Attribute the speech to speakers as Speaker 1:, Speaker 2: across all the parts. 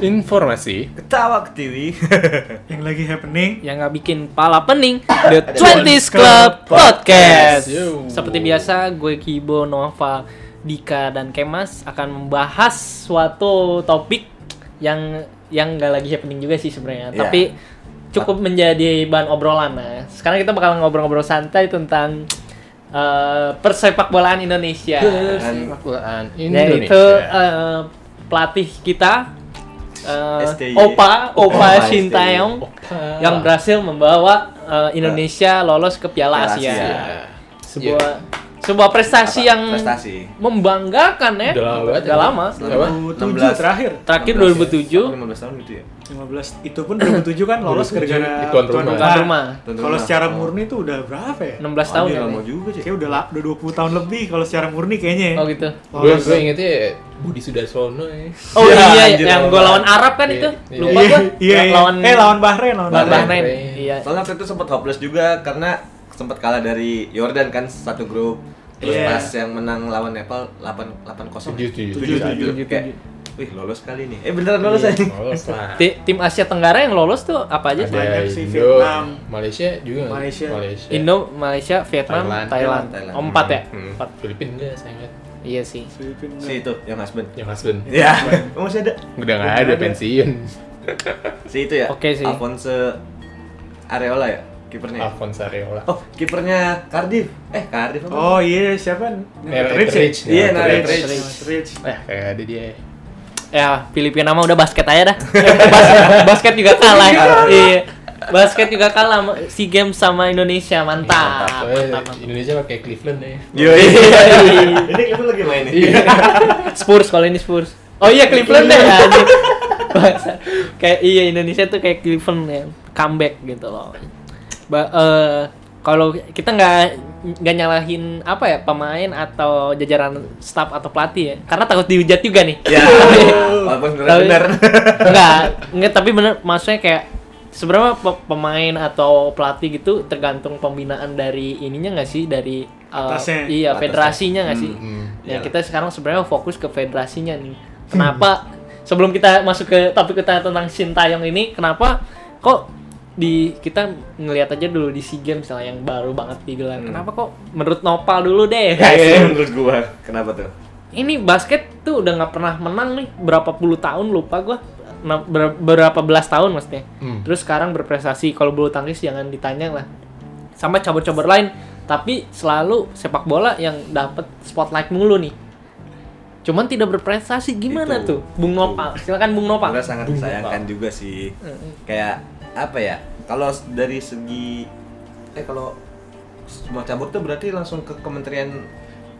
Speaker 1: Informasi
Speaker 2: Ketawa ke TV.
Speaker 3: yang lagi happening
Speaker 4: yang nggak bikin pala pening The
Speaker 2: Ada
Speaker 4: 20s Club Podcast.
Speaker 1: Yo.
Speaker 4: Seperti biasa, gue Kibo, Nova, Dika dan Kemas akan membahas suatu topik yang yang nggak lagi happening juga sih sebenarnya,
Speaker 2: Iya.
Speaker 4: tapi cukup menjadi bahan obrolan nah. Sekarang kita bakal ngobrol-ngobrol santai tentang eh, persepakbolaan Indonesia.
Speaker 1: Persepakbolaan
Speaker 4: Yaitu itu eh,
Speaker 1: Indonesia
Speaker 4: pelatih kita eh,
Speaker 2: STY. Opa
Speaker 4: Opa Opa
Speaker 2: STY.
Speaker 4: Sintayong
Speaker 1: Opa.
Speaker 4: yang berhasil membawa eh, Indonesia lolos ke Piala
Speaker 2: Piala
Speaker 4: Asia.
Speaker 2: Asia.
Speaker 4: Sebuah
Speaker 1: Iya.
Speaker 4: sebuah prestasi
Speaker 2: Apa?
Speaker 4: yang
Speaker 2: prestasi.
Speaker 4: membanggakan ya.
Speaker 1: Udah lama banget
Speaker 4: Udah
Speaker 1: ya.
Speaker 4: lama.
Speaker 1: Udah lama.
Speaker 3: 2007 terakhir
Speaker 2: ya?
Speaker 4: Terakhir
Speaker 2: 2007
Speaker 4: 2007
Speaker 2: 15 tahun gitu ya.
Speaker 3: 15 itu pun 2007 kan lolos
Speaker 1: 2007
Speaker 3: gara-gara
Speaker 1: itu tuan rumah.
Speaker 4: tuan rumah
Speaker 2: Tuan
Speaker 3: Kalau
Speaker 2: rumah.
Speaker 3: secara
Speaker 2: Oh.
Speaker 3: murni itu udah berapa ya?
Speaker 4: 16 tahun
Speaker 2: Anjir, Oh,
Speaker 4: ya.
Speaker 2: iya, lama juga sih.
Speaker 3: Kayak udah la- udah 20 tahun lebih kalau secara murni kayaknya ya.
Speaker 4: Oh gitu.
Speaker 1: Gue
Speaker 3: Lolos.
Speaker 1: gue ingetnya Budi Sudarsono ya
Speaker 4: Oh
Speaker 2: Ya,
Speaker 4: iya
Speaker 2: anjir,
Speaker 4: yang
Speaker 2: lama
Speaker 4: gue lawan
Speaker 2: banget.
Speaker 4: Arab kan
Speaker 1: Iya,
Speaker 4: itu.
Speaker 1: iya.
Speaker 4: Lupa
Speaker 3: Iya,
Speaker 4: gue.
Speaker 3: iya, iya.
Speaker 4: Lawan
Speaker 3: Eh lawan Bahrain, lawan
Speaker 4: lawan
Speaker 2: Bahrain.
Speaker 3: Bahrain.
Speaker 4: Bahrain.
Speaker 1: Bahrain.
Speaker 4: Iya.
Speaker 2: Soalnya waktu itu sempat hopeless juga karena sempat kalah dari Jordan kan satu grup. Terus
Speaker 3: Iya.
Speaker 2: pas yang menang lawan Nepal 8 8-0.
Speaker 1: Tujuh, tujuh,
Speaker 2: Tujuh,
Speaker 3: tujuh,
Speaker 2: tujuh.
Speaker 3: tujuh,
Speaker 2: Kayak, Wih, lolos kali nih. Eh, beneran lolos
Speaker 1: Iya,
Speaker 2: aja.
Speaker 1: lolos lah.
Speaker 4: Ti- Tim Asia Tenggara yang lolos tuh apa aja? sih?
Speaker 1: Ada
Speaker 3: Banyak sih,
Speaker 1: Indo,
Speaker 3: Vietnam.
Speaker 1: Malaysia juga nggak?
Speaker 3: Malaysia.
Speaker 1: Malaysia.
Speaker 4: Indo, Malaysia, Vietnam,
Speaker 1: Thailand.
Speaker 4: Thailand.
Speaker 2: Thailand.
Speaker 4: Oh, empat ya?
Speaker 1: Hmm.
Speaker 4: Empat.
Speaker 1: Filipina enggak saya ingat.
Speaker 4: Iya sih.
Speaker 3: Filipina.
Speaker 2: Si itu yang husband.
Speaker 1: Yang husband.
Speaker 2: Ya, oh, masih ada.
Speaker 1: Udah nggak ada pensiun.
Speaker 2: Si itu ya.
Speaker 4: Oke sih.
Speaker 2: Alphonse Areola ya, kipernya. ya?
Speaker 1: Alphonse Areola.
Speaker 2: Oh, kipernya Cardiff. Eh, Cardiff apa?
Speaker 3: Oh iya, siapa?
Speaker 1: Eh, Nerich.
Speaker 3: Rich.
Speaker 1: Nerich.
Speaker 2: Iya, Nerich.
Speaker 1: Nerich.
Speaker 2: Nerich.
Speaker 3: Rich.
Speaker 1: Eh, kagak ada dia.
Speaker 4: Ya, Filipina mah udah basket aja dah. basket, basket juga kalah. iya. Basket juga kalah sama- si game sama Indonesia. Iya, Mantap.
Speaker 1: Eh,
Speaker 4: Mantap. mantap.
Speaker 1: Indonesia pakai Cleveland ya.
Speaker 2: Yo, iya. Ini lu lagi main nih.
Speaker 4: Iya. Spurs kalau ini Spurs. Oh iya Cleveland deh. anjing. Bangsa. kayak iya Indonesia tuh kayak Cleveland ya, comeback gitu loh. Ba- eh, kalau kita nggak nggak nyalahin apa ya pemain atau jajaran staff atau pelatih ya, karena takut dihujat juga nih.
Speaker 2: Ya, walaupun
Speaker 4: Tapi-
Speaker 2: benar-benar.
Speaker 4: Enggak, enggak tapi bener maksudnya kayak sebenarnya pe- pemain atau pelatih gitu tergantung pembinaan dari ininya nggak sih dari uh,
Speaker 3: Atasnya.
Speaker 4: iya
Speaker 2: Atasnya.
Speaker 4: federasinya nggak sih?
Speaker 1: Hmm.
Speaker 4: Ya
Speaker 2: Iya.
Speaker 4: kita sekarang sebenarnya fokus ke federasinya nih. Kenapa sebelum kita masuk ke topik kita tentang Sintayong ini kenapa kok di kita ngelihat aja dulu di SEA Games lah yang baru banget digelar.
Speaker 2: Hmm.
Speaker 4: Kenapa kok menurut Nopal dulu deh?
Speaker 2: Ya, ini menurut gua. Kenapa tuh?
Speaker 4: ini basket tuh udah nggak pernah menang nih berapa puluh tahun lupa gua Na- ber- berapa belas tahun maksudnya
Speaker 1: Hmm.
Speaker 4: terus sekarang berprestasi kalau bulu tangkis jangan ditanya lah sama cabur-cabur lain tapi selalu sepak bola yang dapat spotlight mulu nih cuman tidak berprestasi gimana
Speaker 2: Itu.
Speaker 4: tuh Bung Nopal silakan Bung Nopal
Speaker 2: Sebenarnya sangat disayangkan juga sih. Kayak apa ya? Kalau dari segi eh kalau semua cabur tuh berarti langsung ke Kementerian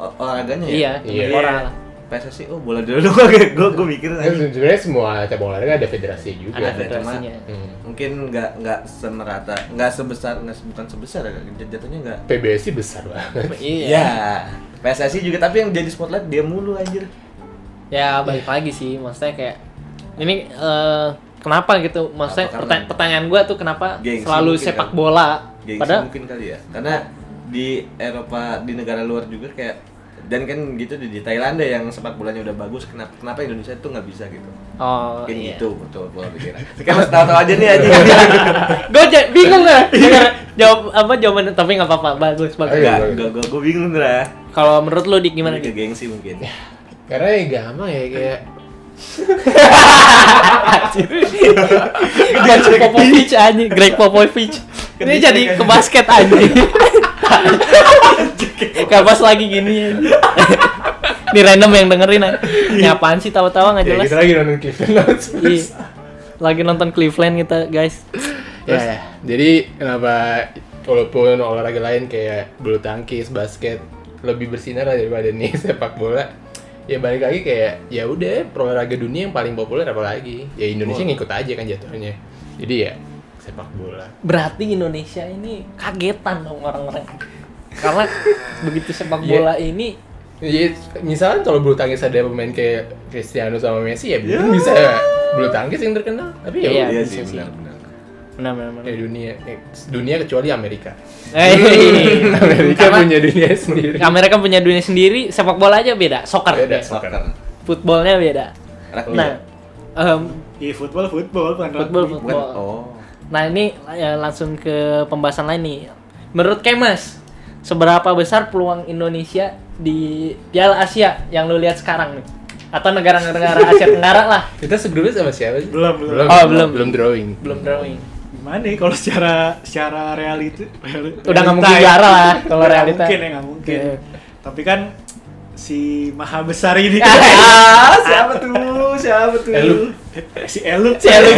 Speaker 2: Ol- olahraganya
Speaker 4: iya
Speaker 2: ya?
Speaker 1: Iya.
Speaker 4: orang lah. Iya.
Speaker 2: PSSI, oh bola dulu gue gue mikir
Speaker 1: Kan
Speaker 2: tadi.
Speaker 1: sebenarnya semua cabang olahraga ada federasi juga.
Speaker 4: ada
Speaker 2: Ada, cuma-
Speaker 4: federasinya
Speaker 1: Hmm.
Speaker 2: mungkin nggak nggak semerata nggak sebesar nggak bukan sebesar ya, jatuhnya nggak
Speaker 1: PBSI besar banget.
Speaker 4: iya
Speaker 2: PSSI juga tapi yang jadi spotlight dia mulu anjir
Speaker 4: ya balik lagi sih maksudnya kayak ini eh, kenapa gitu maksudnya
Speaker 2: Apa karena-
Speaker 4: pertanya- pertanyaan gua tuh kenapa
Speaker 2: Gengsi
Speaker 4: selalu
Speaker 2: mungkin
Speaker 4: sepak
Speaker 2: kali.
Speaker 4: bola
Speaker 2: Gengsi
Speaker 4: padahal
Speaker 2: mungkin kali ya karena di Eropa di negara luar juga kayak dan kan gitu di, di Thailand deh yang sepak bolanya udah bagus kenapa kenapa Indonesia tuh nggak bisa gitu
Speaker 4: oh
Speaker 2: mungkin
Speaker 4: iya.
Speaker 2: gitu betul pola pikiran sekarang tahu-tahu aja nih aja
Speaker 4: gue bingung gak
Speaker 2: Iya.
Speaker 4: jawab apa jawaban tapi nggak apa-apa bagus bagus
Speaker 2: nggak gue gue gue bingung lah
Speaker 4: kalau menurut lo dik gimana
Speaker 2: gimana ke
Speaker 4: dik
Speaker 2: gengsi mungkin
Speaker 1: Karena ya gampang ya kayak
Speaker 4: Greg Popovich aja Greg Popovich
Speaker 2: Kan
Speaker 4: ini jadi ke basket aja kapas lagi gini ini random yang dengerin aja Ini apaan sih tawa-tawa nggak
Speaker 1: ya
Speaker 4: jelas
Speaker 1: kita lagi nonton Cleveland Browns.
Speaker 4: Iya. lagi nonton Cleveland kita guys
Speaker 1: Ya, ya. jadi kenapa walaupun olahraga lain kayak bulu tangkis, basket lebih bersinar lah daripada nih sepak bola. Ya balik lagi kayak ya udah olahraga dunia yang paling populer apa lagi? Ya Indonesia ngikut aja kan jatuhnya. Jadi ya sepak bola.
Speaker 4: berarti Indonesia ini kagetan dong orang-orang karena begitu sepak bola ini
Speaker 1: Jadi misalnya kalau bulu tangkis ada pemain kayak Cristiano sama Messi ya mungkin bisa bulu tangkis yang terkenal. Tapi ya
Speaker 4: Iya.
Speaker 1: udah
Speaker 2: iya
Speaker 4: bisa
Speaker 2: sih
Speaker 4: sih.
Speaker 2: benar-benar
Speaker 4: benar-benar
Speaker 1: kayak dunia eh, dunia kecuali Amerika.
Speaker 4: Eh,
Speaker 1: Amerika
Speaker 4: Karena-
Speaker 1: punya dunia sendiri.
Speaker 4: Amerika kan punya dunia sendiri, sepak bola aja beda, soccer.
Speaker 1: Beda.
Speaker 4: Ya.
Speaker 2: soccer
Speaker 4: Footballnya beda.
Speaker 2: Rugby.
Speaker 4: Nah, em,
Speaker 3: Iya football football bukan
Speaker 4: Football,
Speaker 3: rugby.
Speaker 2: Bukan,
Speaker 4: Wah.
Speaker 2: oh.
Speaker 4: nah ini ya, langsung ke pembahasan lain nih. Menurut Kemas, seberapa besar peluang Indonesia di Piala Asia yang lu lihat sekarang nih? Atau negara-negara Asia Tenggara lah,
Speaker 1: Kita sebelumnya sama siapa sih?
Speaker 3: Belum,
Speaker 4: Oh,
Speaker 3: belum.
Speaker 1: belum.
Speaker 4: belum.
Speaker 1: Belum drawing.
Speaker 4: belum drawing.
Speaker 3: Gimana nih kalau secara secara reality reali-
Speaker 4: Udah nggak
Speaker 3: realita
Speaker 4: mungkin
Speaker 3: ya?
Speaker 4: juara lah kalau
Speaker 3: Nggak
Speaker 4: realita.
Speaker 3: Mungkin ya nggak mungkin.
Speaker 4: Iya.
Speaker 3: Tapi kan si maha besar ini kan,
Speaker 2: Ah, siapa tuh? Siapa tuh?
Speaker 1: Eh, lu.
Speaker 3: si Elup
Speaker 4: Si Elup,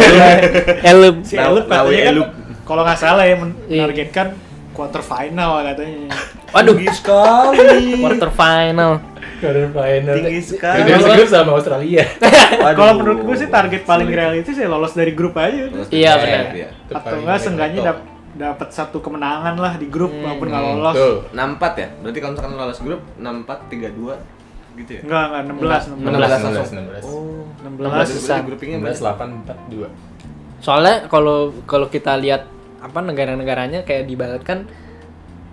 Speaker 4: Elup.
Speaker 3: si
Speaker 2: Lau-
Speaker 3: Elup katanya
Speaker 2: Lawi
Speaker 3: kan
Speaker 2: Elup.
Speaker 3: kalau nggak salah ya men-
Speaker 4: Iya.
Speaker 3: menargetkan quarter final katanya
Speaker 4: Waduh,
Speaker 2: Tinggi sekali.
Speaker 4: quarter final.
Speaker 1: Quarter final.
Speaker 2: Tinggi sekali.
Speaker 1: Negara grup sama Australia.
Speaker 2: Waduh.
Speaker 3: kalau menurut gue sih target paling realistis ya lolos dari grup aja udah.
Speaker 4: Iya, benar.
Speaker 2: Iya.
Speaker 1: Itu
Speaker 3: atau
Speaker 1: paling
Speaker 3: enggak
Speaker 1: paling
Speaker 3: seenggaknya
Speaker 1: top.
Speaker 3: dap- dapat satu kemenangan lah di grup
Speaker 4: Hmm.
Speaker 3: walaupun nggak
Speaker 1: Hmm,
Speaker 3: lolos
Speaker 1: Tuh.
Speaker 2: 64 ya? Berarti kalau misalkan lolos grup 64 32 gitu ya?
Speaker 3: enggak enggak 16
Speaker 4: Enam belas,
Speaker 2: 16 langsung.
Speaker 1: 16.
Speaker 2: Oh.
Speaker 3: 16
Speaker 4: susah.
Speaker 2: Berarti groupingnya
Speaker 1: 16,
Speaker 2: berarti
Speaker 1: 8, 4, 2.
Speaker 4: Soalnya kalau kalau kita lihat apa negara-negaranya kayak dibalatkan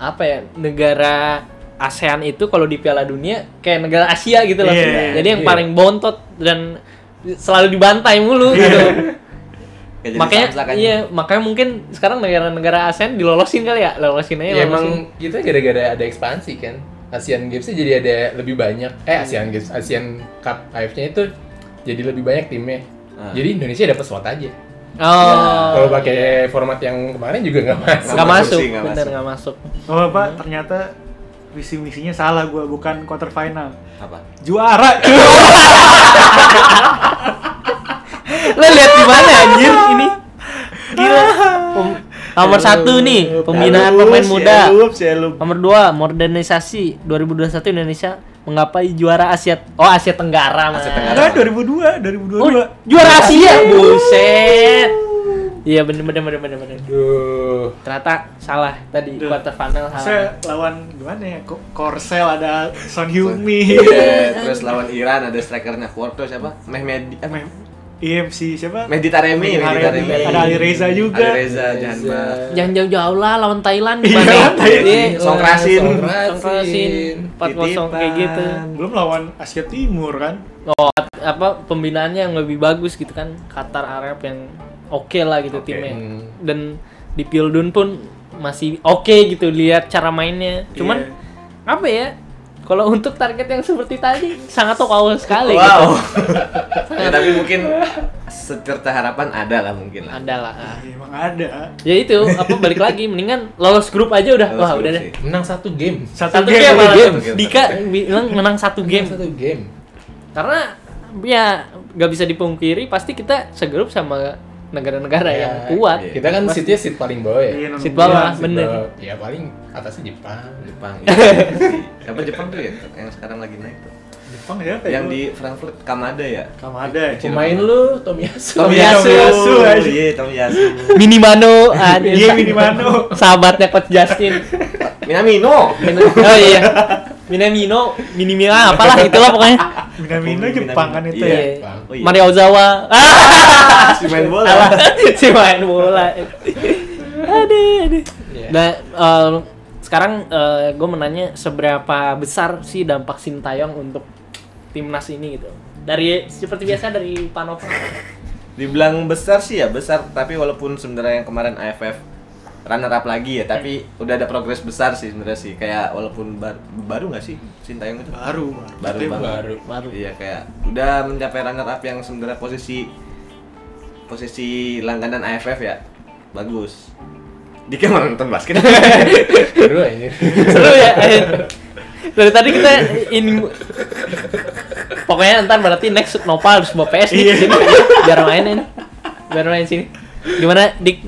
Speaker 4: apa ya negara ASEAN itu kalau di Piala Dunia kayak negara Asia gitu loh.
Speaker 3: Iya,
Speaker 4: Jadi yang
Speaker 1: iya.
Speaker 4: paling bontot dan selalu dibantai mulu gitu.
Speaker 2: Kayak Iya. jadi kan.
Speaker 4: makanya
Speaker 2: samsak aja.
Speaker 4: iya makanya mungkin sekarang negara-negara ASEAN dilolosin kali ya lolosin aja
Speaker 2: Iya,
Speaker 1: Ya
Speaker 4: lolosin.
Speaker 1: emang kita gara-gara ada ekspansi kan. Asian Games jadi ada lebih banyak. Eh
Speaker 4: Iya.
Speaker 1: Asian Games, Asian Cup AF-nya itu jadi lebih banyak timnya.
Speaker 2: Ah.
Speaker 1: Jadi Indonesia dapat slot aja.
Speaker 4: oh
Speaker 1: Kalau pakai format yang kemarin juga nggak masuk.
Speaker 2: Iya.
Speaker 4: nggak
Speaker 2: Nggak masuk
Speaker 4: masuk
Speaker 2: sih, nggak
Speaker 4: bener
Speaker 2: masuk.
Speaker 4: nggak masuk
Speaker 3: oh pak
Speaker 2: Iya.
Speaker 3: ternyata visi misinya salah gue bukan quarter final
Speaker 2: apa?
Speaker 3: juara
Speaker 4: lo lihat di mana anjir ini
Speaker 2: Iya.
Speaker 4: gila Pem- nomor satu nih pembinaan pemain muda
Speaker 2: Sialup, sialup.
Speaker 4: Nomor 2, modernisasi 2021 Indonesia menggapai juara Asia Oh, Asia Tenggara, Mas.
Speaker 2: Asia Tenggara.
Speaker 3: enggak 2002 2022
Speaker 4: Oh, juara Asia. Buset. Iya, bener bener bener bener bener.
Speaker 1: Aduh.
Speaker 4: Ternyata salah tadi
Speaker 3: Duh.
Speaker 4: quarter final
Speaker 2: iya.
Speaker 4: salah.
Speaker 3: saya lawan gimana ya Ko- Korsel ada Son Heung-min
Speaker 2: Iya, terus lawan Iran ada strikernya Quarto siapa? Mehmedi eh,
Speaker 3: E M- IMC siapa?
Speaker 2: Mehdi Taremi,
Speaker 3: Mehdi Taremi. Ada Ali Reza juga.
Speaker 2: Ali Reza
Speaker 4: Iya.
Speaker 2: jangan
Speaker 1: Reza.
Speaker 2: bahas.
Speaker 4: Jangan jauh-jauh lah lawan Thailand
Speaker 3: Iya,
Speaker 4: Bandung.
Speaker 3: Thailand.
Speaker 4: Iya,
Speaker 2: Songkrasin.
Speaker 4: Songkrasin 4-0 kayak gitu.
Speaker 3: Belum lawan Asia Timur kan?
Speaker 4: Oh, apa pembinaannya yang lebih bagus gitu kan. Qatar Arab yang oke lah gitu
Speaker 2: Oke.
Speaker 4: timnya.
Speaker 1: Hmm.
Speaker 4: Dan di Pildun pun masih oke gitu lihat cara mainnya. Cuman
Speaker 3: Iya.
Speaker 4: apa ya kalau untuk target yang seperti tadi sangat awal sekali gitu
Speaker 2: Wow.
Speaker 4: Iya.
Speaker 2: ya, tapi mungkin secerca harapan ada lah mungkin lah.
Speaker 4: ada lah ah.
Speaker 3: Ya, emang ada.
Speaker 4: ya itu apa balik lagi mendingan lolos grup aja udah
Speaker 2: Lolos
Speaker 4: wah
Speaker 2: grup
Speaker 4: udah
Speaker 2: sih.
Speaker 4: deh
Speaker 1: Menang satu game.
Speaker 4: satu, game,
Speaker 3: game.
Speaker 4: malah.
Speaker 2: game, satu game.
Speaker 4: Dika bilang menang satu
Speaker 1: Menang
Speaker 4: game
Speaker 1: Satu game.
Speaker 4: karena ya nggak bisa dipungkiri pasti kita segrup sama negara-negara yang kuat
Speaker 2: iya.
Speaker 1: Kita kan seatnya seat paling bawah ya.
Speaker 3: Iya, nomor
Speaker 4: Sit bawah.
Speaker 3: dua.
Speaker 1: Seat
Speaker 4: bener.
Speaker 1: bawah. Ya paling atasnya Jepang.
Speaker 2: Jepang. Iya. Apa Jepang tuh ya yang sekarang lagi naik tuh.
Speaker 3: Jepang siapa
Speaker 4: Eh,
Speaker 3: ya?
Speaker 2: Yang di Frankfurt Kamada ya.
Speaker 3: Kamada ya?
Speaker 1: Pemain lu Tomiyasu.
Speaker 4: Tomiyasu.
Speaker 2: Tomiyasu.
Speaker 3: Tomiyasu.
Speaker 2: Iya, Tomiyasu.
Speaker 4: Minimano anjir.
Speaker 3: Iya, Minamino.
Speaker 4: sahabatnya coach Justin
Speaker 2: Minamino.
Speaker 4: Min- oh iya Minamino Minimino apalah itulah pokoknya
Speaker 3: Minamino Jepang kan itu
Speaker 2: Iya.
Speaker 3: ya?
Speaker 1: Jepang.
Speaker 2: Oh, iya.
Speaker 4: Mario Ozawa ah!
Speaker 2: Si main bola.
Speaker 4: Salah. si main bola. aduh, aduh.
Speaker 1: Iya.
Speaker 4: Nah, em, sekarang eh, gue menanya seberapa besar sih dampak Sintayong untuk timnas ini gitu. Dari seperti biasa dari Panova.
Speaker 2: Dibilang besar sih ya, besar, tapi walaupun sebenarnya yang kemarin AFF runner up lagi ya, tapi udah ada progres besar sih sebenarnya sih. Kayak walaupun bar- baru nggak sih Sintayong itu?
Speaker 3: Baru,
Speaker 2: Baru,
Speaker 3: Tapi
Speaker 2: baru.
Speaker 1: Baru.
Speaker 4: Baru.
Speaker 2: Iya kayak udah mencapai runner up yang sebenarnya posisi posisi langganan AFF ya. Bagus. Dika malah nonton basket.
Speaker 1: Seru anjir.
Speaker 4: Seru ya. eh. Dari tadi kita in Pokoknya ntar berarti next Nopal harus bawa PS nih
Speaker 3: Iya.
Speaker 4: kesini. biar mainin. Biar main sini. Gimana Dik?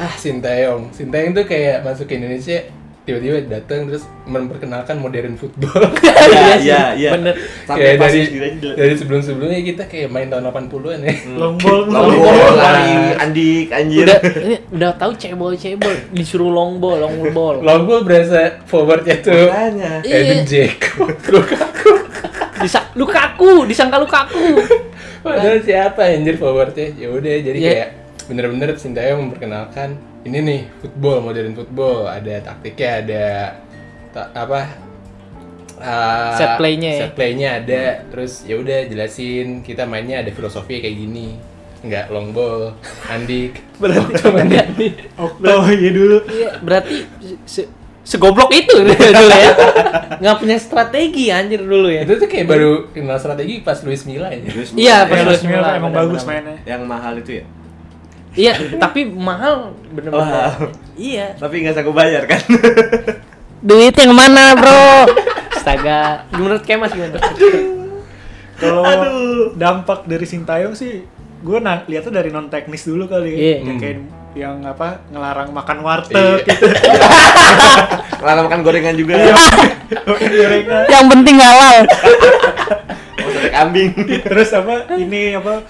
Speaker 1: Ah, Sintayong. Sintayong tuh kayak masuk ke Indonesia tiba-tiba datang terus memperkenalkan modern football.
Speaker 2: Iya, iya, iya.
Speaker 4: Bener.
Speaker 1: kayak dari
Speaker 2: Sampai pasti dari,
Speaker 1: dari sebelum-sebelongnya kita kayak main tahun 80-an ya.
Speaker 3: Long ball mulu.
Speaker 2: Long
Speaker 3: Long
Speaker 2: ball,
Speaker 3: ball.
Speaker 2: lari, andik, anjir.
Speaker 4: udah ini udah tahu cebol cebol disuruh long ball long ball
Speaker 1: Long ball berasa forwardnya tuh
Speaker 2: Makanya.
Speaker 4: Iya.
Speaker 1: Edin Dzeko. Lukaku.
Speaker 4: Disa lu kaku disangka lu kaku
Speaker 1: Padahal siapa anjir forwardnya? Ya udah jadi
Speaker 4: Iya.
Speaker 1: kayak bener-bener Sintayong memperkenalkan ini nih football modern football ada taktiknya ada ta- apa eh,
Speaker 4: Set play-nya ya?
Speaker 1: set play-nya ada terus ya udah jelasin kita mainnya ada filosofi kayak gini nggak long ball andik
Speaker 4: Berarti
Speaker 1: Cuman dia-
Speaker 4: berarti-
Speaker 3: Okto ya dulu.
Speaker 4: Iya, berarti se- segoblok itu dulu ya. Nggak punya strategi anjir dulu ya.
Speaker 1: itu tuh kayak baru kenal strategi pas Luis Milla ya. aja
Speaker 2: Terus-
Speaker 4: Iya,
Speaker 2: yang,
Speaker 4: pas-
Speaker 3: Terus Mila emang
Speaker 4: benar-benar.
Speaker 3: bagus mainnya.
Speaker 2: yang mahal itu ya
Speaker 4: Iya, tapi mahal bener-bener.
Speaker 2: Wow.
Speaker 4: Iya.
Speaker 2: tapi nggak sanggup bayar kan
Speaker 4: Duit yang mana, Bro? Astaga. Menurut Kemas gimana?
Speaker 3: Kalau
Speaker 2: Aduh.
Speaker 3: dampak dari Sintayong sih, gue na- lihatnya dari non teknis dulu kali.
Speaker 4: Iya.
Speaker 3: Yang kayak
Speaker 2: Hmm.
Speaker 3: yang apa ngelarang makan
Speaker 1: Iya.
Speaker 3: warteg gitu.
Speaker 2: Lala makan gorengan juga
Speaker 4: Iya.
Speaker 2: Iya.
Speaker 3: Gorengan.
Speaker 4: Yang penting halal.
Speaker 2: mau sate kambing
Speaker 3: terus apa ini apa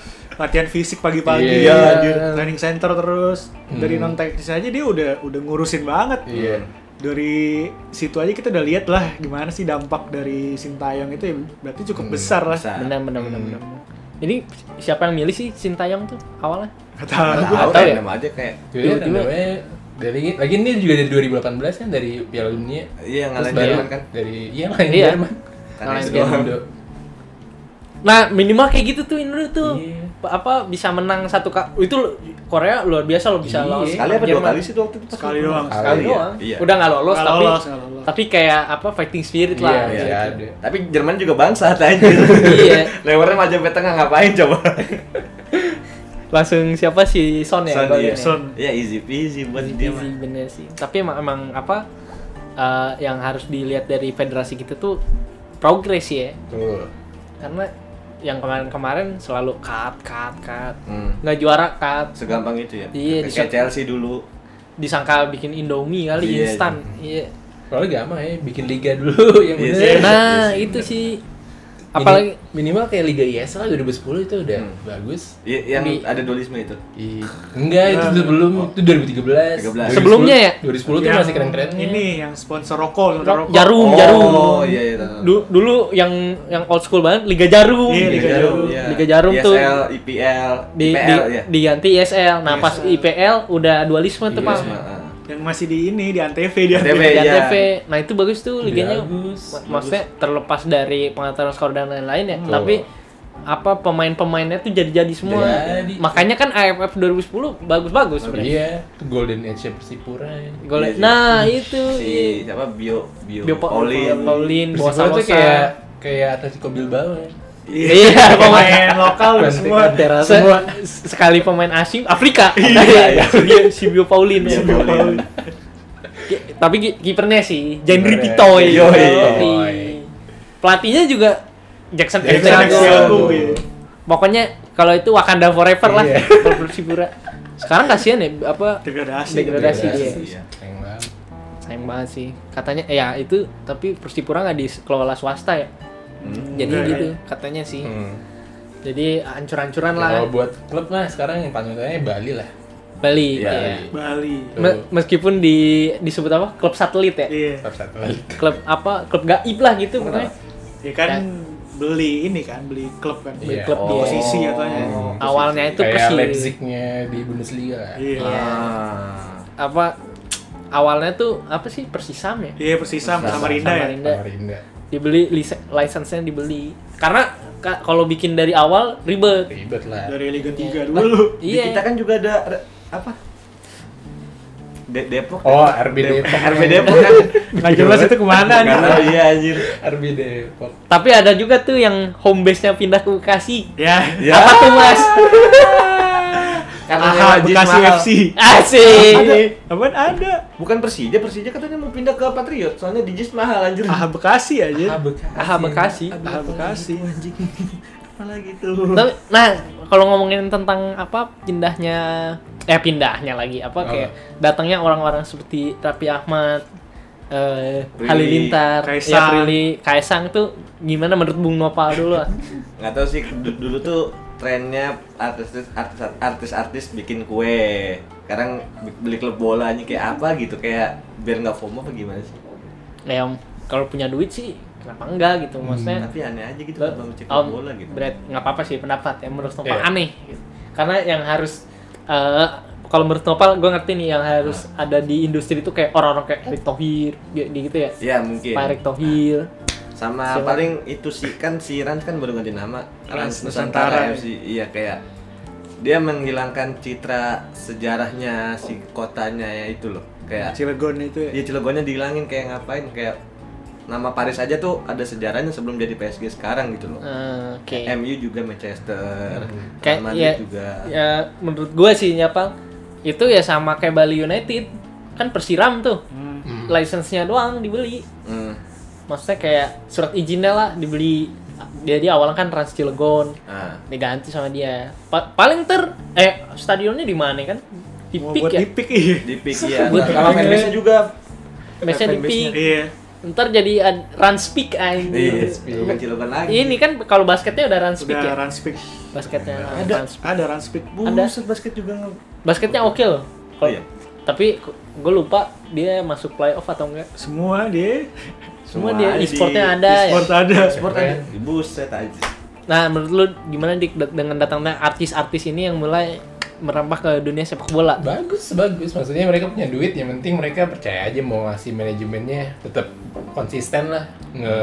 Speaker 3: latihan fisik pagi-pagi
Speaker 1: Iya,
Speaker 2: anjir.
Speaker 3: training center terus dari
Speaker 1: Hmm.
Speaker 3: non teknis aja dia udah udah ngurusin banget
Speaker 1: Iya.
Speaker 3: dari situ aja kita udah lihat lah gimana sih dampak dari sintayong itu ya berarti cukup
Speaker 1: Hmm,
Speaker 3: besar lah
Speaker 2: besar.
Speaker 4: Benar, benar, benar,
Speaker 1: Hmm.
Speaker 4: benar. Ini siapa yang milih sih Sintayong tuh awalnya?
Speaker 3: Nggak tahu.
Speaker 2: Nggak tahu
Speaker 4: tahu ya.
Speaker 2: ya nama aja kayak
Speaker 1: Jadi
Speaker 4: Tiba-tiba.
Speaker 1: namanya dari lagi ini juga dari 2018 kan dari Piala Dunia.
Speaker 2: iya
Speaker 1: Terus
Speaker 2: ngalahin
Speaker 1: baru
Speaker 2: Jerman kan
Speaker 1: Dari iya ngalahin
Speaker 4: Iya.
Speaker 1: Jerman.
Speaker 2: karena
Speaker 4: Ngalahin
Speaker 2: itu
Speaker 1: Jerman
Speaker 2: doang.
Speaker 1: dok.
Speaker 4: Nah, minimal kayak gitu tuh Indro tuh.
Speaker 1: Iya.
Speaker 4: Pa- Apa bisa menang satu kali. Itu lo- Korea luar biasa lo
Speaker 1: Iya.
Speaker 4: bisa lolos.
Speaker 2: sekali apa dua
Speaker 4: Jerman.
Speaker 2: kali sih tuh waktu itu
Speaker 3: Sekali doang.
Speaker 1: Sekali
Speaker 2: ya?
Speaker 4: doang.
Speaker 2: iya
Speaker 4: Udah nggak lolos,
Speaker 3: Nggak
Speaker 4: tapi
Speaker 3: lolos, nggak lolos.
Speaker 4: tapi kayak apa fighting spirit lah.
Speaker 1: Iya,
Speaker 4: gitu.
Speaker 1: iya ada.
Speaker 2: tapi Jerman juga bangsa aja
Speaker 4: Iya.
Speaker 2: lewernya maju sampai tengah ngapain coba
Speaker 4: Langsung siapa si Son ya?
Speaker 2: Son,
Speaker 4: golnya?
Speaker 2: iya.
Speaker 3: Son.
Speaker 2: Iya easy peasy buat dia
Speaker 4: Easy
Speaker 2: mah.
Speaker 4: iya, bener sih. Tapi emang, emang apa eh, yang harus dilihat dari federasi kita tuh progres ya.
Speaker 1: Tuh.
Speaker 4: Karena yang kemarin-kemarin selalu cut, cut, cut.
Speaker 2: Hmm.
Speaker 4: Nggak juara cut.
Speaker 2: Segampang itu ya.
Speaker 4: Iya, di
Speaker 2: kayak
Speaker 4: shot.
Speaker 2: Chelsea dulu.
Speaker 4: Disangka bikin Indomie kali
Speaker 2: Iya.
Speaker 4: instan. Iya.
Speaker 1: Soalnya gampang ya, bikin liga dulu yang
Speaker 2: Iya
Speaker 1: bener.
Speaker 2: sih.
Speaker 4: Nah,
Speaker 2: Yes,
Speaker 4: itu sih
Speaker 1: Mini-
Speaker 4: apalagi
Speaker 1: minimal kayak Liga ISL 2010 itu udah
Speaker 2: Hmm.
Speaker 1: bagus.
Speaker 2: Iya, yang
Speaker 1: Di-
Speaker 2: ada dualisme itu.
Speaker 1: Ih, enggak itu sebelum itu 2013.
Speaker 2: 13.
Speaker 4: Sebelumnya ya?
Speaker 1: 2010 tuh
Speaker 3: Yang
Speaker 1: masih keren-keren.
Speaker 3: Iya. ini yang sponsor rokok sponsor rokok
Speaker 4: jarum,
Speaker 2: oh,
Speaker 4: jarum.
Speaker 2: iya iya. tahu, tahu.
Speaker 4: Du- dulu yang yang old school banget Liga Jarum.
Speaker 3: Iya, Liga Jarum.
Speaker 2: iya.
Speaker 4: Liga Jarum tuh
Speaker 2: ISL, IPL,
Speaker 4: di,
Speaker 2: IPL
Speaker 4: di-
Speaker 2: ya.
Speaker 4: diganti ISL. Nah, pas
Speaker 3: ISL.
Speaker 4: IPL udah dualisme tuh, Pak.
Speaker 1: Dualisme.
Speaker 3: yang masih di ini di antv di
Speaker 2: Antv.
Speaker 3: antv
Speaker 4: Liga
Speaker 2: Iya.
Speaker 4: TV. Nah itu bagus tuh liganya.
Speaker 1: Bagus,
Speaker 4: Ma-
Speaker 1: bagus.
Speaker 4: Maksudnya terlepas dari pengaturan skor dan lain-lain ya.
Speaker 1: Betul.
Speaker 4: Tapi apa pemain-pemainnya tuh jadi-jadi semua.
Speaker 1: Jadi.
Speaker 4: Makanya kan AFF 2010 bagus-bagus.
Speaker 1: Iya,
Speaker 4: Bre.
Speaker 1: Golden Age Persipura. ya.
Speaker 4: Gol-
Speaker 2: Iya sih.
Speaker 4: Nah itu.
Speaker 2: Si siapa Bio Bio,
Speaker 4: Bio Pa-
Speaker 2: Paulin.
Speaker 4: Paulin,
Speaker 1: Persipura tuh
Speaker 4: Bosa-Bosa.
Speaker 1: kayak kayak Atletico Bilbao ya.
Speaker 4: Iya, pemain.
Speaker 3: pemain lokal udah semua
Speaker 1: Ganti kan.
Speaker 4: Se- sekali pemain asing Afrika.
Speaker 2: Iya, iya.
Speaker 4: Si Bio- si Bio Paulin.
Speaker 2: Bio
Speaker 4: Si Bio
Speaker 2: Paulin.
Speaker 4: Paulin. Ki- Tapi ki- kipernya sih Jendri
Speaker 1: Kipernya.
Speaker 4: Pitoy.
Speaker 2: Yoi.
Speaker 4: Yoi. Pelatihnya juga Jackson
Speaker 1: Jackson
Speaker 4: Thiago.
Speaker 3: Thiago, iya.
Speaker 4: Pokoknya kalau itu Wakanda forever lah
Speaker 1: Iya.
Speaker 4: kalau Persipura. Sekarang kasihan ya apa
Speaker 3: tapi udah asik
Speaker 4: degradasi dia.
Speaker 1: Degradasi, iya. Sayang banget.
Speaker 4: Sayang banget sih. Katanya ya itu tapi Persipura nggak dikelola swasta ya.
Speaker 2: Hmm.
Speaker 4: Jadi
Speaker 3: Enggak,
Speaker 4: gitu
Speaker 3: ya.
Speaker 4: katanya sih.
Speaker 1: Hmm. Oh,
Speaker 4: Jadi ancur-ancuran lah
Speaker 1: Ya, Kalau buat klub mah sekarang yang paling utamanya Bali lah.
Speaker 4: Bali.
Speaker 2: Iya.
Speaker 4: iya.
Speaker 3: Bali
Speaker 4: Me- meskipun di disebut apa klub satelit ya
Speaker 3: iya
Speaker 1: Tetap satu.
Speaker 4: klub apa klub gaib lah gitu pokoknya
Speaker 3: ya kan
Speaker 4: Dan-
Speaker 3: beli ini kan beli klub kan
Speaker 1: Iya.
Speaker 4: klub
Speaker 2: Oh.
Speaker 4: dia
Speaker 3: Posisi katanya.
Speaker 4: awalnya itu
Speaker 1: Kayak
Speaker 4: persi
Speaker 1: Leipzignya di Bundesliga lah.
Speaker 3: iya
Speaker 4: Iya.
Speaker 2: Ah.
Speaker 4: apa awalnya tuh apa sih persisam ya
Speaker 3: iya persisam
Speaker 2: Persisam,
Speaker 3: samarinda ya
Speaker 4: Samarinda.
Speaker 1: Samarinda.
Speaker 4: dibeli lise- license-nya dibeli karena ka- kalau bikin dari awal ribet
Speaker 1: Ribet lah.
Speaker 3: dari Liga 3 dulu.
Speaker 2: Di kita
Speaker 4: iya
Speaker 2: kan juga ada re- apa? De Depok. kan?
Speaker 1: Oh, RB Depok.
Speaker 2: RB Depok kan.
Speaker 3: Nggak jelas itu
Speaker 2: Nggak
Speaker 3: kemana nih.
Speaker 2: tahu, iya anjir.
Speaker 1: RB Depok.
Speaker 4: tapi ada juga tuh yang home base-nya pindah ke Bekasi
Speaker 3: Ya.
Speaker 2: Ya.
Speaker 4: apa tuh mas
Speaker 2: Karena
Speaker 3: Aha,
Speaker 2: wajib
Speaker 3: Bekasi
Speaker 2: mahal.
Speaker 3: FC.
Speaker 4: Eh,
Speaker 3: Ada.
Speaker 4: asik
Speaker 3: Apaan ada?
Speaker 2: Bukan Persija, Persija katanya mau pindah ke Patriot. Soalnya di JIS mahal anjir.
Speaker 3: Aha Bekasi
Speaker 2: Ah,
Speaker 3: aja.
Speaker 1: Bekasi.
Speaker 4: Aha, Ah, Iya. Bekasi.
Speaker 3: Aha Bekasi.
Speaker 2: anjing. Apa gitu.
Speaker 4: Tapi, nah kalau ngomongin tentang apa pindahnya eh pindahnya lagi apa kayak datangnya orang-orang seperti Raffi Ahmad eh,
Speaker 2: Prilly,
Speaker 4: Halilintar
Speaker 3: Kaisang.
Speaker 4: ya Prilly, Kaisang tuh gimana menurut Bung Nopal dulu ah? lah?
Speaker 2: Nggak tahu sih du- dulu tuh trennya artis artis artis artis bikin kue. Sekarang bi- beli klub bola anjing kayak apa gitu kayak biar nggak FOMO apa gimana sih?
Speaker 4: ya kalau punya duit sih kenapa enggak gitu maksudnya
Speaker 2: Tapi aneh aja gitu
Speaker 4: lo-
Speaker 2: kalau cek
Speaker 4: om,
Speaker 2: klub bola gitu.
Speaker 4: berat nggak apa-apa sih pendapat ya menurut Nopal
Speaker 1: Iya.
Speaker 4: aneh gitu. karena yang harus eh, kalau menurut Nopal gue ngerti nih yang harus
Speaker 2: Ah.
Speaker 4: ada di industri itu kayak orang-orang kayak Erick Thohir gitu ya
Speaker 2: Ya mungkin.
Speaker 4: Pak Erick Thohir
Speaker 2: Sama
Speaker 4: Siran.
Speaker 2: paling itu sih kan si Rans kan baru ganti nama.
Speaker 3: Rans
Speaker 2: Rans Nusantara
Speaker 3: Nusantara.
Speaker 2: FC. Iya kayak dia menghilangkan citra sejarahnya si kotanya ya itu loh. Kayak
Speaker 3: Cilegon itu ya.
Speaker 2: Iya Cilegonnya dihilangin kayak ngapain kayak nama Paris aja tuh ada sejarahnya sebelum jadi PSG sekarang gitu loh.
Speaker 4: Eh, Oke.
Speaker 2: MU juga Manchester, Real
Speaker 4: Kayak
Speaker 2: Madrid
Speaker 4: ya,
Speaker 2: juga.
Speaker 4: ya menurut gua sih nyapa itu ya sama kayak Bali United kan persiram tuh
Speaker 3: Hmm.
Speaker 4: license-nya doang dibeli
Speaker 2: Hmm.
Speaker 4: maksudnya kayak surat izinnya lah dibeli jadi awalnya kan Trans Cilegon
Speaker 2: Ah.
Speaker 4: diganti sama dia Pa- paling ter eh stadionnya di mana kan di
Speaker 3: Mau
Speaker 4: Peak
Speaker 3: buat
Speaker 4: ya
Speaker 3: dipik iya.
Speaker 2: Di pick ya.
Speaker 4: Buat-
Speaker 2: Sama fanbase-nya juga.
Speaker 4: Biasanya di
Speaker 2: Fanbase-nya.
Speaker 4: Peak
Speaker 3: Iya.
Speaker 4: ntar jadi ad- Rans Peak
Speaker 2: Iya,
Speaker 4: anjing
Speaker 2: bukan Cilegon lagi.
Speaker 4: ini kan kalau basketnya udah Rans Peak
Speaker 3: Udah
Speaker 4: ya
Speaker 3: Ranspik.
Speaker 4: basketnya
Speaker 3: Ada
Speaker 4: Rans Peak.
Speaker 3: ada Ranspik.
Speaker 4: Ada.
Speaker 2: Buset basket juga nge...
Speaker 4: basketnya oke loh
Speaker 2: Oh iya.
Speaker 4: tapi gue lupa dia masuk playoff atau enggak
Speaker 3: Semua
Speaker 4: Eh,
Speaker 3: dia.
Speaker 2: Semua
Speaker 4: semua, dia
Speaker 2: ada di
Speaker 4: e-sportnya ada
Speaker 3: Sport
Speaker 4: ya
Speaker 3: ada.
Speaker 2: Sport aja. Buset aja.
Speaker 4: nah menurut lu gimana dik de- dengan datangnya artis-artis ini yang mulai merambah ke dunia sepak bola
Speaker 1: bagus bagus maksudnya mereka punya duit yang penting mereka percaya aja mau ngasih manajemennya tetap konsisten lah nge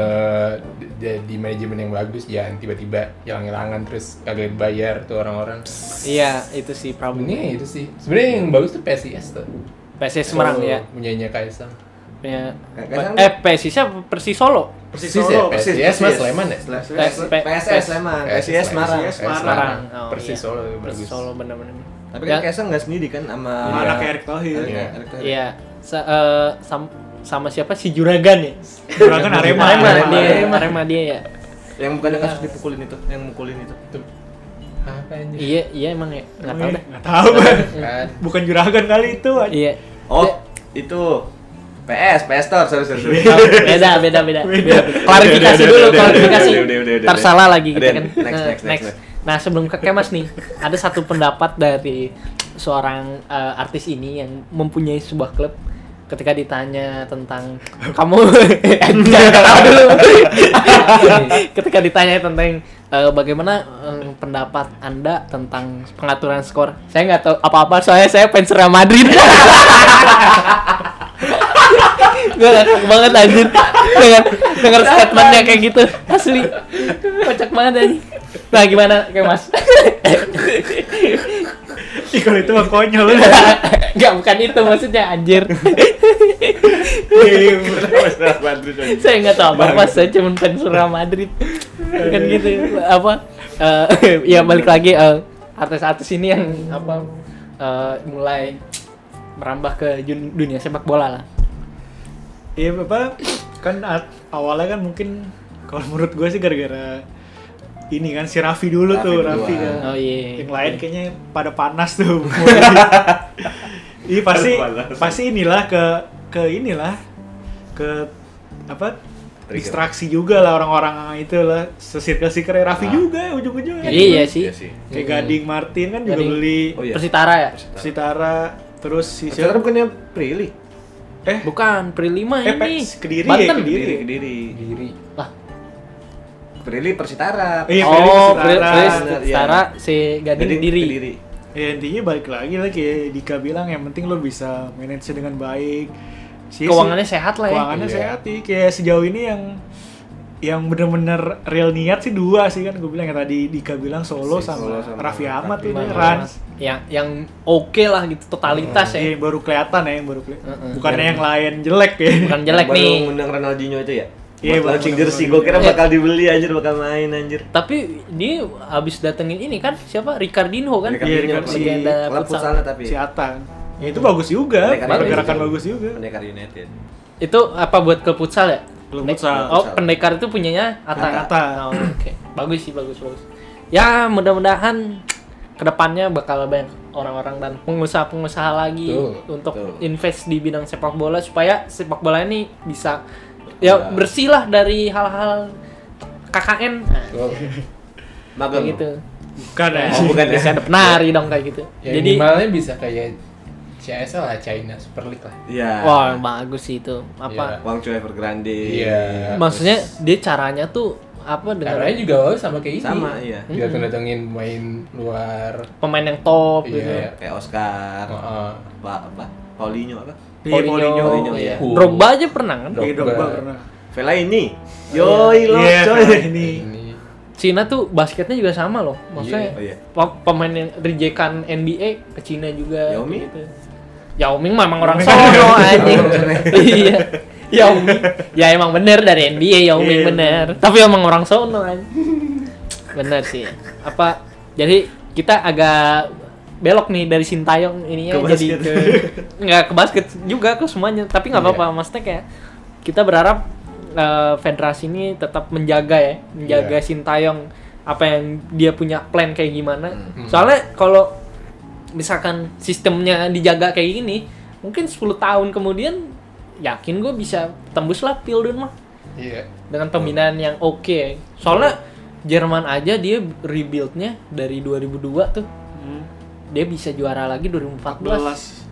Speaker 1: jadi manajemen yang bagus jangan tiba-tiba hilang hilangan terus kagak bayar tuh orang-orang
Speaker 4: iya itu sih problemnya
Speaker 1: ini itu sih sebenarnya yang bagus tuh PSIS tuh
Speaker 4: PSS Semarang ya
Speaker 1: punyanya Kaisang
Speaker 4: punya
Speaker 2: Kayak- kayak
Speaker 4: eh PSIS siapa Persis Solo
Speaker 3: Persis
Speaker 1: Persis
Speaker 3: Solo.
Speaker 1: ya, Persis. PSIS, Mas Sleman ya?
Speaker 2: Sle-
Speaker 4: P- P-
Speaker 2: PSS Sleman, PSIS Semarang.
Speaker 3: PSIS Semarang.
Speaker 4: Semarang Oh,
Speaker 1: Persis
Speaker 4: iya.
Speaker 1: Solo tuh
Speaker 4: Persis
Speaker 1: bagus
Speaker 4: Solo benar-benar
Speaker 2: Tapi
Speaker 4: Ya,
Speaker 2: kan Kaisang nggak sendiri kan sama
Speaker 3: Sama
Speaker 1: Iya.
Speaker 3: Anak Erick Thohir.
Speaker 1: Iya.
Speaker 2: Erick Thohir.
Speaker 4: iya Sa- eh, sam- sama siapa si juragan ya
Speaker 3: Juragan Kan Arema.
Speaker 4: Arema dia
Speaker 2: Arema.
Speaker 4: Arema dia ya
Speaker 2: Yang bukannya kasus dipukulin itu, yang mukulin itu.
Speaker 1: Tuh. apa anjir
Speaker 4: iya iya emang ya nggak tahu deh
Speaker 3: Nggak tahu.
Speaker 1: kan
Speaker 3: Bukan juragan kali itu. anjing.
Speaker 4: iya
Speaker 2: Oh, itu PS, PS Store, sorry, sorry, sorry.
Speaker 4: Oh, beda beda beda
Speaker 3: Beda.
Speaker 2: Udah, udah,
Speaker 4: klarifikasi dulu
Speaker 2: udah, udah,
Speaker 4: klarifikasi
Speaker 2: udah, udah, udah, udah,
Speaker 4: ntar
Speaker 2: udah.
Speaker 4: salah lagi gitu
Speaker 2: Udah,
Speaker 4: kan
Speaker 2: next,
Speaker 4: Eh,
Speaker 2: next, next,
Speaker 4: nah sebelum ke kemas nih ada satu pendapat dari seorang eh, artis ini yang mempunyai sebuah klub ketika ditanya tentang kamu Eh, Jangan ketawa dulu ketika ditanya tentang eh, bagaimana eh, pendapat anda tentang pengaturan skor saya nggak tahu apa apa soalnya saya fans Real Madrid gue ngakak banget anjir dengar dengar statementnya kayak gitu asli kocak banget anjir nah gimana kayak mas
Speaker 3: Ih, kalau itu mah konyol.
Speaker 4: nggak bukan itu maksudnya anjir
Speaker 3: Iya,
Speaker 2: Real Madrid aja.
Speaker 4: saya nggak tahu apa apa saya cuma fans Real Madrid bukan gitu
Speaker 3: Iya.
Speaker 4: apa eh, ya balik lagi eh, artis-artis ini yang apa eh, mulai merambah ke jun- dunia sepak bola lah
Speaker 3: Iya bapak kan at- awalnya kan mungkin kalau menurut gue sih gara-gara ini kan si Raffi dulu
Speaker 2: Raffi
Speaker 3: tuh
Speaker 2: duluan.
Speaker 3: Raffi kan.
Speaker 4: oh iya
Speaker 3: Yang lain kayaknya pada panas tuh. Iya pasti
Speaker 2: Panas.
Speaker 3: pasti inilah ke ke inilah ke apa
Speaker 2: Trigger.
Speaker 3: distraksi juga lah orang-orang itu lah sesirkel sirkel Raffi
Speaker 2: Ah.
Speaker 3: juga ujung-ujungnya
Speaker 4: Iya sih.
Speaker 3: kayak
Speaker 1: Hmm.
Speaker 3: Gading Martin kan juga
Speaker 4: Gading.
Speaker 3: beli
Speaker 2: Oh iya.
Speaker 4: Persitara ya
Speaker 3: Sitara terus si
Speaker 2: Sekarang
Speaker 3: siapa
Speaker 2: bukannya Prilly.
Speaker 3: eh
Speaker 4: bukan Prilima
Speaker 3: Eh,
Speaker 4: ini
Speaker 3: Pes, Kediri ya,
Speaker 4: Banten
Speaker 3: Kediri.
Speaker 2: Kediri, Kediri.
Speaker 1: diri
Speaker 4: lah
Speaker 2: Prilly Persitara.
Speaker 3: Iya,
Speaker 4: oh,
Speaker 3: Prilly
Speaker 4: Prilly
Speaker 3: Sitara.
Speaker 2: Iya.
Speaker 4: Sitara si Gading
Speaker 2: Jadi
Speaker 4: Diri.
Speaker 2: Kediri.
Speaker 3: Ya intinya balik lagi lah kayak Dika bilang yang penting lo bisa manage dengan baik. Si-
Speaker 4: Keuangannya
Speaker 3: si-
Speaker 4: sehat lah ya.
Speaker 3: Keuangannya
Speaker 1: Iya.
Speaker 3: sehat sih. Kayak sejauh ini yang yang bener-bener real niat sih dua sih kan gue bilang yang tadi Dika bilang Solo
Speaker 2: Si
Speaker 3: sama,
Speaker 2: Solo sama
Speaker 3: Raffi Ahmad
Speaker 2: Raffi
Speaker 3: tuh
Speaker 4: Emang Mas,
Speaker 3: dia, Rans.
Speaker 4: yang yang oke lah gitu totalitas
Speaker 3: Iya,
Speaker 4: ya.
Speaker 3: yang baru kelihatan ya yang baru kelihatan.
Speaker 4: Heeh.
Speaker 3: Bukannya yang lain jelek ya.
Speaker 4: Bukan jelek
Speaker 2: Baru
Speaker 4: nih. Iya.
Speaker 2: ngundang Ronaldinho itu ya?
Speaker 3: Iya,
Speaker 2: Buat
Speaker 3: baru
Speaker 2: launching
Speaker 3: ngundang
Speaker 2: jersey, gue kira
Speaker 4: Ronaldinho.
Speaker 2: bakal dibeli anjir, bakal main anjir
Speaker 4: Tapi dia habis datengin ini kan siapa? Ricardinho kan?
Speaker 3: Ricardinho,
Speaker 4: Iya,
Speaker 3: si
Speaker 4: legenda
Speaker 2: klub
Speaker 4: futsal.
Speaker 2: futsalnya tapi
Speaker 3: Si Atan. Ya itu bagus juga,
Speaker 2: Pendekar
Speaker 3: pergerakan
Speaker 2: United.
Speaker 3: bagus juga.
Speaker 2: Pendekar United
Speaker 4: Itu apa buat klub futsal ya?
Speaker 3: Klub
Speaker 4: Pendek-
Speaker 3: futsal.
Speaker 4: Oh, pendekar itu punyanya Ata.
Speaker 3: Ata. Ata.
Speaker 4: Oh, oke. Bagus sih, bagus, bagus. Ya, mudah-mudahan kedepannya bakal banyak orang-orang dan pengusaha-pengusaha lagi
Speaker 1: Betul,
Speaker 4: untuk
Speaker 2: betul.
Speaker 4: invest di bidang sepak bola supaya sepak bola ini bisa ya
Speaker 2: Berkembang.
Speaker 4: bersih lah dari hal-hal KKN nah,
Speaker 1: Tuh.
Speaker 2: Magang
Speaker 4: kayak gitu.
Speaker 3: Bukan ya.
Speaker 2: Oh, bukan ya?
Speaker 4: Bisa ada penari dong kayak gitu.
Speaker 1: ya,
Speaker 4: Jadi
Speaker 1: minimalnya bisa kayak CSL lah China Super League lah
Speaker 2: Iya
Speaker 4: wah
Speaker 1: Nah.
Speaker 4: bagus sih itu. Apa
Speaker 2: Wang Choi Evergrande
Speaker 1: Iya.
Speaker 4: maksudnya dia caranya tuh apa dengan
Speaker 1: caranya juga bagus sama kayak ini
Speaker 2: Sama, iya.
Speaker 1: dia
Speaker 4: Hmm.
Speaker 1: datengin main luar
Speaker 4: pemain yang top gitu.
Speaker 1: Iya.
Speaker 2: Kayak Oscar
Speaker 1: Heeh.
Speaker 2: Pak apa Paulinho apa
Speaker 3: Iya, Paulinho.
Speaker 2: Paulinho,
Speaker 1: iya.
Speaker 4: iya. Drogba aja pernah kan?
Speaker 1: Drogba.
Speaker 3: Iya, Drogba pernah.
Speaker 2: Vela ini.
Speaker 4: Oh,
Speaker 2: Yoi lo
Speaker 3: Iya,
Speaker 2: coy.
Speaker 3: Vela ini.
Speaker 1: Ini
Speaker 4: Cina tuh basketnya juga sama loh. Maksudnya
Speaker 2: Iya, iya.
Speaker 4: pe- pemain yang rejekan NBA ke Cina juga.
Speaker 2: Yao Ming?
Speaker 4: gitu. Yao Ming memang orang
Speaker 3: Yao Ming.
Speaker 4: sono anjing.
Speaker 2: Orang sono.
Speaker 4: Iya. Yao Ming. Ya emang bener dari NBA Yao Ming
Speaker 3: Iya.
Speaker 4: bener. Tapi emang orang sono anjing. Bener sih. Apa jadi kita agak belok nih dari Sintayong ininya
Speaker 2: Ke
Speaker 4: jadi
Speaker 2: basket.
Speaker 4: ke nggak ke basket juga ke semuanya tapi nggak apa-apa maksudnya kayak kita berharap eh, federasi ini tetap menjaga ya menjaga
Speaker 1: Iya.
Speaker 4: Sintayong apa yang dia punya plan kayak gimana
Speaker 1: Hmm.
Speaker 4: soalnya kalau misalkan sistemnya dijaga kayak gini mungkin 10 tahun kemudian yakin gue bisa tembus lah Pildun mah
Speaker 1: Iya.
Speaker 2: Hmm.
Speaker 4: dengan pembinaan yang oke ya. soalnya Jerman aja dia rebuildnya dari 2002 tuh
Speaker 3: Hmm,
Speaker 4: dia bisa juara lagi 2014
Speaker 3: 14.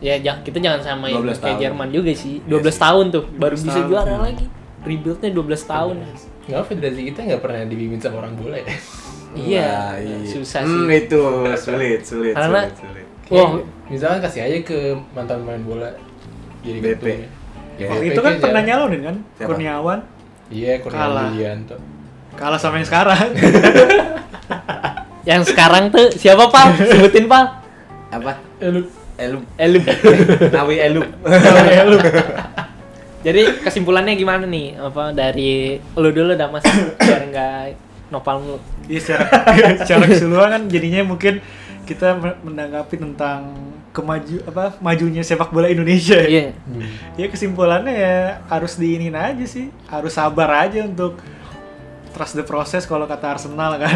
Speaker 4: ya ja- kita jangan samain
Speaker 2: 12
Speaker 4: kayak
Speaker 2: tahun. Iya
Speaker 4: Jerman juga sih 12
Speaker 2: sih.
Speaker 4: tahun tuh baru
Speaker 3: 12
Speaker 4: bisa
Speaker 3: tahun.
Speaker 4: juara
Speaker 2: Hmm.
Speaker 4: lagi rebuildnya 12 tahun
Speaker 1: Nggak federasi kita nggak pernah dibimbing sama orang bola ya.
Speaker 4: iya
Speaker 2: Wah, iya.
Speaker 4: susah
Speaker 2: Hmm,
Speaker 4: sih
Speaker 2: itu sulit, sulit,
Speaker 4: Karena-
Speaker 2: sulit, sulit.
Speaker 4: Wah.
Speaker 1: Wah, misalkan kasih aja ke mantan pemain bola jadi
Speaker 2: BP.
Speaker 1: ketum.
Speaker 2: Ya,
Speaker 1: Kalau
Speaker 3: Waktu itu kan
Speaker 1: PK
Speaker 3: pernah
Speaker 1: jarang.
Speaker 3: nyalonin kan?
Speaker 2: Siapa?
Speaker 3: Kurniawan
Speaker 1: Iya,
Speaker 3: Kalah.
Speaker 1: Kurniawan Widianto.
Speaker 3: kalah sama yang sekarang.
Speaker 4: yang sekarang tuh siapa pal sebutin pal
Speaker 2: Apa?
Speaker 1: Eh, lu
Speaker 2: Elum.
Speaker 4: Elum
Speaker 2: Nawi Elum.
Speaker 3: Iya,
Speaker 4: jadi kesimpulannya gimana nih apa dari lu dulu dah mas biar nggak nopal mulu
Speaker 3: Iya secara, secara keseluruhan kan jadinya mungkin kita men- menanggapi tentang kemaju apa majunya sepak bola Indonesia. ya.
Speaker 4: iya
Speaker 2: Hmm.
Speaker 3: Ya kesimpulannya ya harus diinin aja sih, harus sabar aja untuk trust the process kalau kata Arsenal
Speaker 4: Ah.
Speaker 3: kan.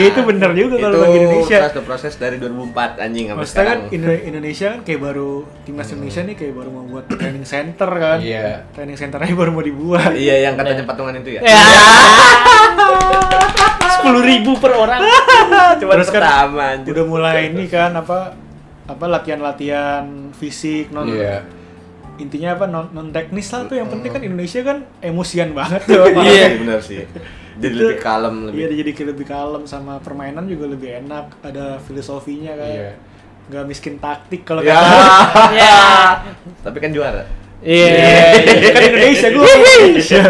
Speaker 3: ya itu bener juga kalau bagi
Speaker 2: Itu
Speaker 3: Indonesia.
Speaker 2: trust the process dari 2004 anjing sampai
Speaker 3: Maksudnya kan
Speaker 2: sekarang.
Speaker 3: Indo- Indonesia kan kayak baru timnas Indonesia nih kayak baru mau buat training center kan.
Speaker 1: Iya.
Speaker 3: Training centernya baru mau dibuat.
Speaker 2: Iya, yang katanya patungan itu ya.
Speaker 4: sepuluh ribu per orang
Speaker 2: Cuma
Speaker 3: Terus kan
Speaker 2: pertama anjing. Iya.
Speaker 3: udah mulai ini kan apa apa latihan-latihan fisik non
Speaker 1: Iya.
Speaker 3: intinya apa non, non teknis lah tuh yang penting kan Indonesia kan emosian banget tuh
Speaker 2: Parah
Speaker 4: Iya.
Speaker 2: sih, benar sih. Jadi
Speaker 3: Itu-
Speaker 2: lebih kalem
Speaker 3: iya
Speaker 2: lebih.
Speaker 3: jadi kayak lebih kalem sama permainan juga lebih enak ada filosofinya
Speaker 1: Iya.
Speaker 3: kayak nggak miskin taktik kalau
Speaker 2: Ya.
Speaker 3: kata
Speaker 4: ya
Speaker 2: Tapi kan juara.
Speaker 4: iya
Speaker 3: kan Indonesia gue Indonesia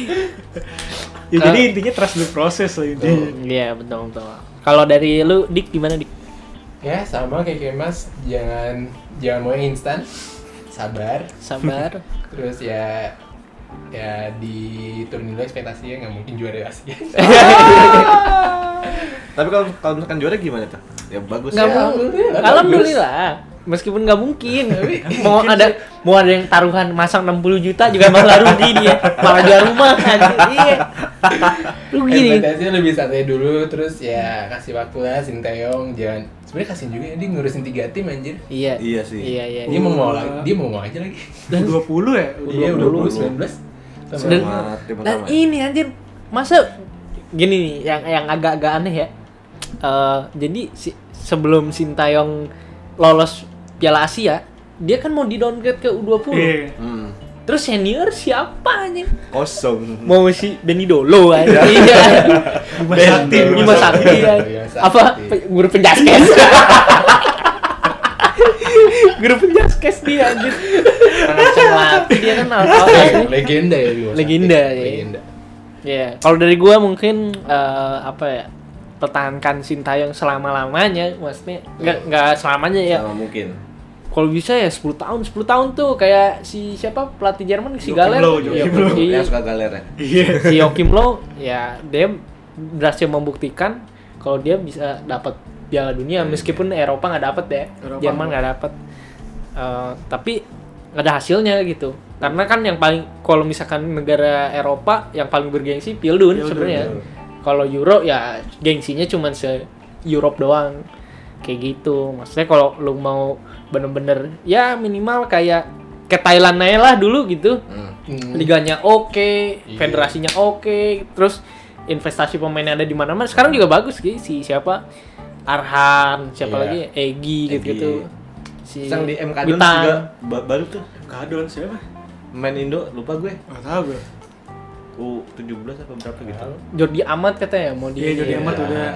Speaker 3: ya jadi intinya trust the process lah intinya
Speaker 4: iya betul betul kalau dari lu dik gimana dik
Speaker 1: Ya, sama kayak Kemas, jangan jangan mau yang instan. Sabar.
Speaker 4: sabar
Speaker 1: Terus ya ya diturunin dulu ekspektasinya nggak mungkin juara ya, Asia.
Speaker 2: Tapi kalau kalau misalkan juara gimana tuh? Ya bagus ya.
Speaker 4: nggak
Speaker 1: mau.
Speaker 4: mungkin
Speaker 1: Alhamdulillah,
Speaker 4: alhamdulillah meskipun nggak mungkin mau ada mau ada yang taruhan masang 60 juta juga malah rugi dia malah jual rumah anjing. iya rugi nih
Speaker 1: Ekspektasinya lebih santai dulu, terus ya kasih waktu lah Sinteyong, jangan sebenarnya kasih juga ya, dia ngurusin tiga tim anjir.
Speaker 4: iya
Speaker 2: Iya sih.
Speaker 4: iya iya
Speaker 1: Dia mau mau lagi, dia mau mau aja lagi.
Speaker 3: dua puluh ya udah
Speaker 1: Dia Iya, udah
Speaker 2: 20.
Speaker 1: lulus 19. Sama-
Speaker 4: Dan-
Speaker 2: Selamat, terima
Speaker 4: Dan
Speaker 2: kasih.
Speaker 4: ini anjir, masa gini nih yang yang agak-agak aneh ya. Eh, jadi si, sebelum Sintayong lolos Piala Asia, dia kan mau di downgrade ke U20.
Speaker 3: Iya.
Speaker 2: Hmm.
Speaker 4: Terus senior siapa anjing?
Speaker 2: Kosong.
Speaker 4: Mau si Benny Dolo anjing. Iya.
Speaker 3: Bima
Speaker 2: Dan-
Speaker 3: Sakti
Speaker 4: Bima Sakti ya.
Speaker 1: Bima Sakti.
Speaker 4: Apa pe- guru penjaskes? guru penjaskes dia anjir. Anak celat. Dia kan
Speaker 1: Oh,
Speaker 4: alkohol.
Speaker 1: legenda ya Bimo Sakti.
Speaker 4: Legenda, ya.
Speaker 1: legenda
Speaker 4: Ya, kalau dari gua mungkin eh, apa ya? pertahankan Sintayong selama-lamanya, maksudnya nggak nggak selamanya ya.
Speaker 2: Sama mungkin.
Speaker 4: Kalau bisa ya 10 tahun, 10 tahun tuh kayak si siapa pelatih Jerman si
Speaker 3: Joachim
Speaker 4: Galer.
Speaker 3: Low,
Speaker 4: Iya,
Speaker 3: Joachim Low.
Speaker 4: si-
Speaker 2: Yang suka galer ya.
Speaker 3: iya
Speaker 4: si Joachim Low ya dia berhasil membuktikan kalau dia bisa dapat Piala Dunia meskipun Eropa nggak dapat ya
Speaker 3: Eropa
Speaker 4: Jerman nggak dapat Eh, tapi ada hasilnya gitu karena kan yang paling kalau misalkan negara Eropa yang paling bergengsi Pildun
Speaker 3: Pildun,
Speaker 4: sebenarnya kalau Euro ya gengsinya cuman se Europe doang kayak gitu maksudnya kalau lu mau bener-bener ya minimal kayak ke Thailand aja lah dulu gitu
Speaker 2: Hmm.
Speaker 1: Hmm.
Speaker 4: liganya oke,
Speaker 1: Iya.
Speaker 4: federasinya oke, terus investasi pemain yang ada di mana-mana sekarang juga bagus sih si siapa Arhan, siapa
Speaker 1: Iya.
Speaker 4: lagi Egi
Speaker 2: Egy.
Speaker 4: gitu-gitu. Si
Speaker 2: Yang di MK Dons
Speaker 4: Witan.
Speaker 2: juga ba- baru tuh
Speaker 3: kadon siapa
Speaker 2: main Indo lupa gue
Speaker 3: nggak tahu gue
Speaker 2: U17 apa berapa gitu.
Speaker 4: Jordi Amat katanya mau di
Speaker 3: Iya, Jordi Amat
Speaker 2: Ya.
Speaker 3: udah.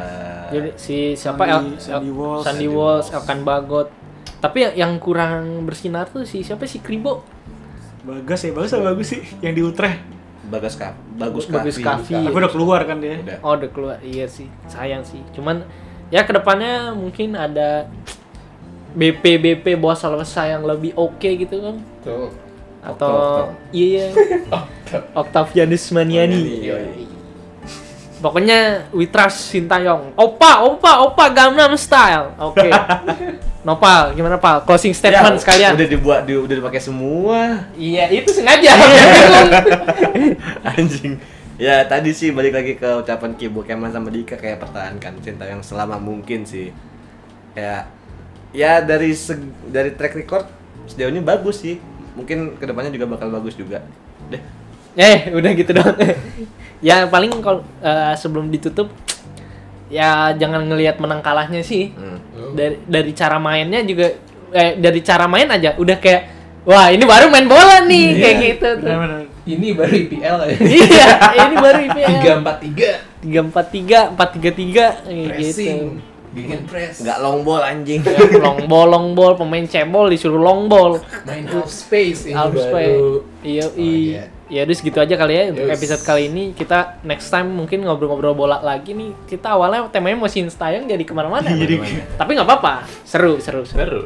Speaker 4: Jadi si siapa El-
Speaker 3: Sandy-
Speaker 4: El-
Speaker 3: Sandy Walsh.
Speaker 4: Sandy Walsh, Elkan Bagot. Tapi yang- yang kurang bersinar tuh si siapa si Kribo.
Speaker 3: Bagas ya, bagus apa bagus sih? Yang di Utrecht.
Speaker 2: Bagas Kaf, bagus
Speaker 4: Bagus Kavi.
Speaker 3: Tapi udah keluar kan dia.
Speaker 2: Udah.
Speaker 4: Oh udah keluar, iya sih, sayang sih. Cuman ya kedepannya mungkin ada BP BP bos selesai yang lebih oke gitu kan?
Speaker 1: Tuh.
Speaker 4: Atau
Speaker 2: Okto,
Speaker 4: iya Octavianus Maniani.
Speaker 2: Maniani, iya.
Speaker 4: Pokoknya we trust Sintayong. Opa, opa, opa Gangnam Style. Oke. Nopal, gimana Pal? Closing
Speaker 2: Ya,
Speaker 4: statement sekalian.
Speaker 2: Udah dibuat, di, udah dipakai semua.
Speaker 4: Iya, itu sengaja.
Speaker 2: Iya.
Speaker 4: Bingung.
Speaker 2: anjing ya tadi sih balik lagi ke ucapan Kibo Kemal sama Dika kayak pertahankan cinta yang selama mungkin sih ya ya dari seg- dari track record sejauh ini bagus sih mungkin kedepannya juga bakal bagus juga deh
Speaker 4: Eh, udah gitu dong. ya paling kalau eh, sebelum ditutup ya jangan ngelihat menang kalahnya sih.
Speaker 2: Hmm.
Speaker 4: Dari dari cara mainnya juga eh dari cara main aja udah kayak wah, ini baru main bola nih
Speaker 2: Iya.
Speaker 4: kayak gitu tuh.
Speaker 3: Benar-benar.
Speaker 1: Ini baru IPL ya.
Speaker 4: iya, ini baru IPL.
Speaker 1: Tiga empat tiga.
Speaker 4: 3 4 3 4 3 3
Speaker 1: Pressing.
Speaker 4: gitu.
Speaker 1: Bikin press.
Speaker 2: nggak long ball anjing
Speaker 4: Ya, long ball, long ball, pemain cebol disuruh long ball.
Speaker 1: Main half space ini
Speaker 4: Harus
Speaker 1: baru.
Speaker 4: Iya,
Speaker 1: Oh, iya.
Speaker 4: Ya udah segitu aja kali ya untuk
Speaker 1: Yus.
Speaker 4: episode kali ini. Kita next time mungkin ngobrol-ngobrol bola lagi nih. Kita awalnya temanya mau sinstayong jadi kemana-mana.
Speaker 3: Jadi-
Speaker 4: Tapi nggak apa-apa. Seru, seru, seru.
Speaker 1: Baru.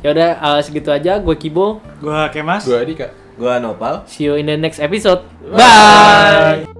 Speaker 4: Ya udah eh, segitu aja. Gue Kibo.
Speaker 3: Gua kayak Mas.
Speaker 1: Gua Adika.
Speaker 2: gua nopal
Speaker 4: See you in the next episode. Bye.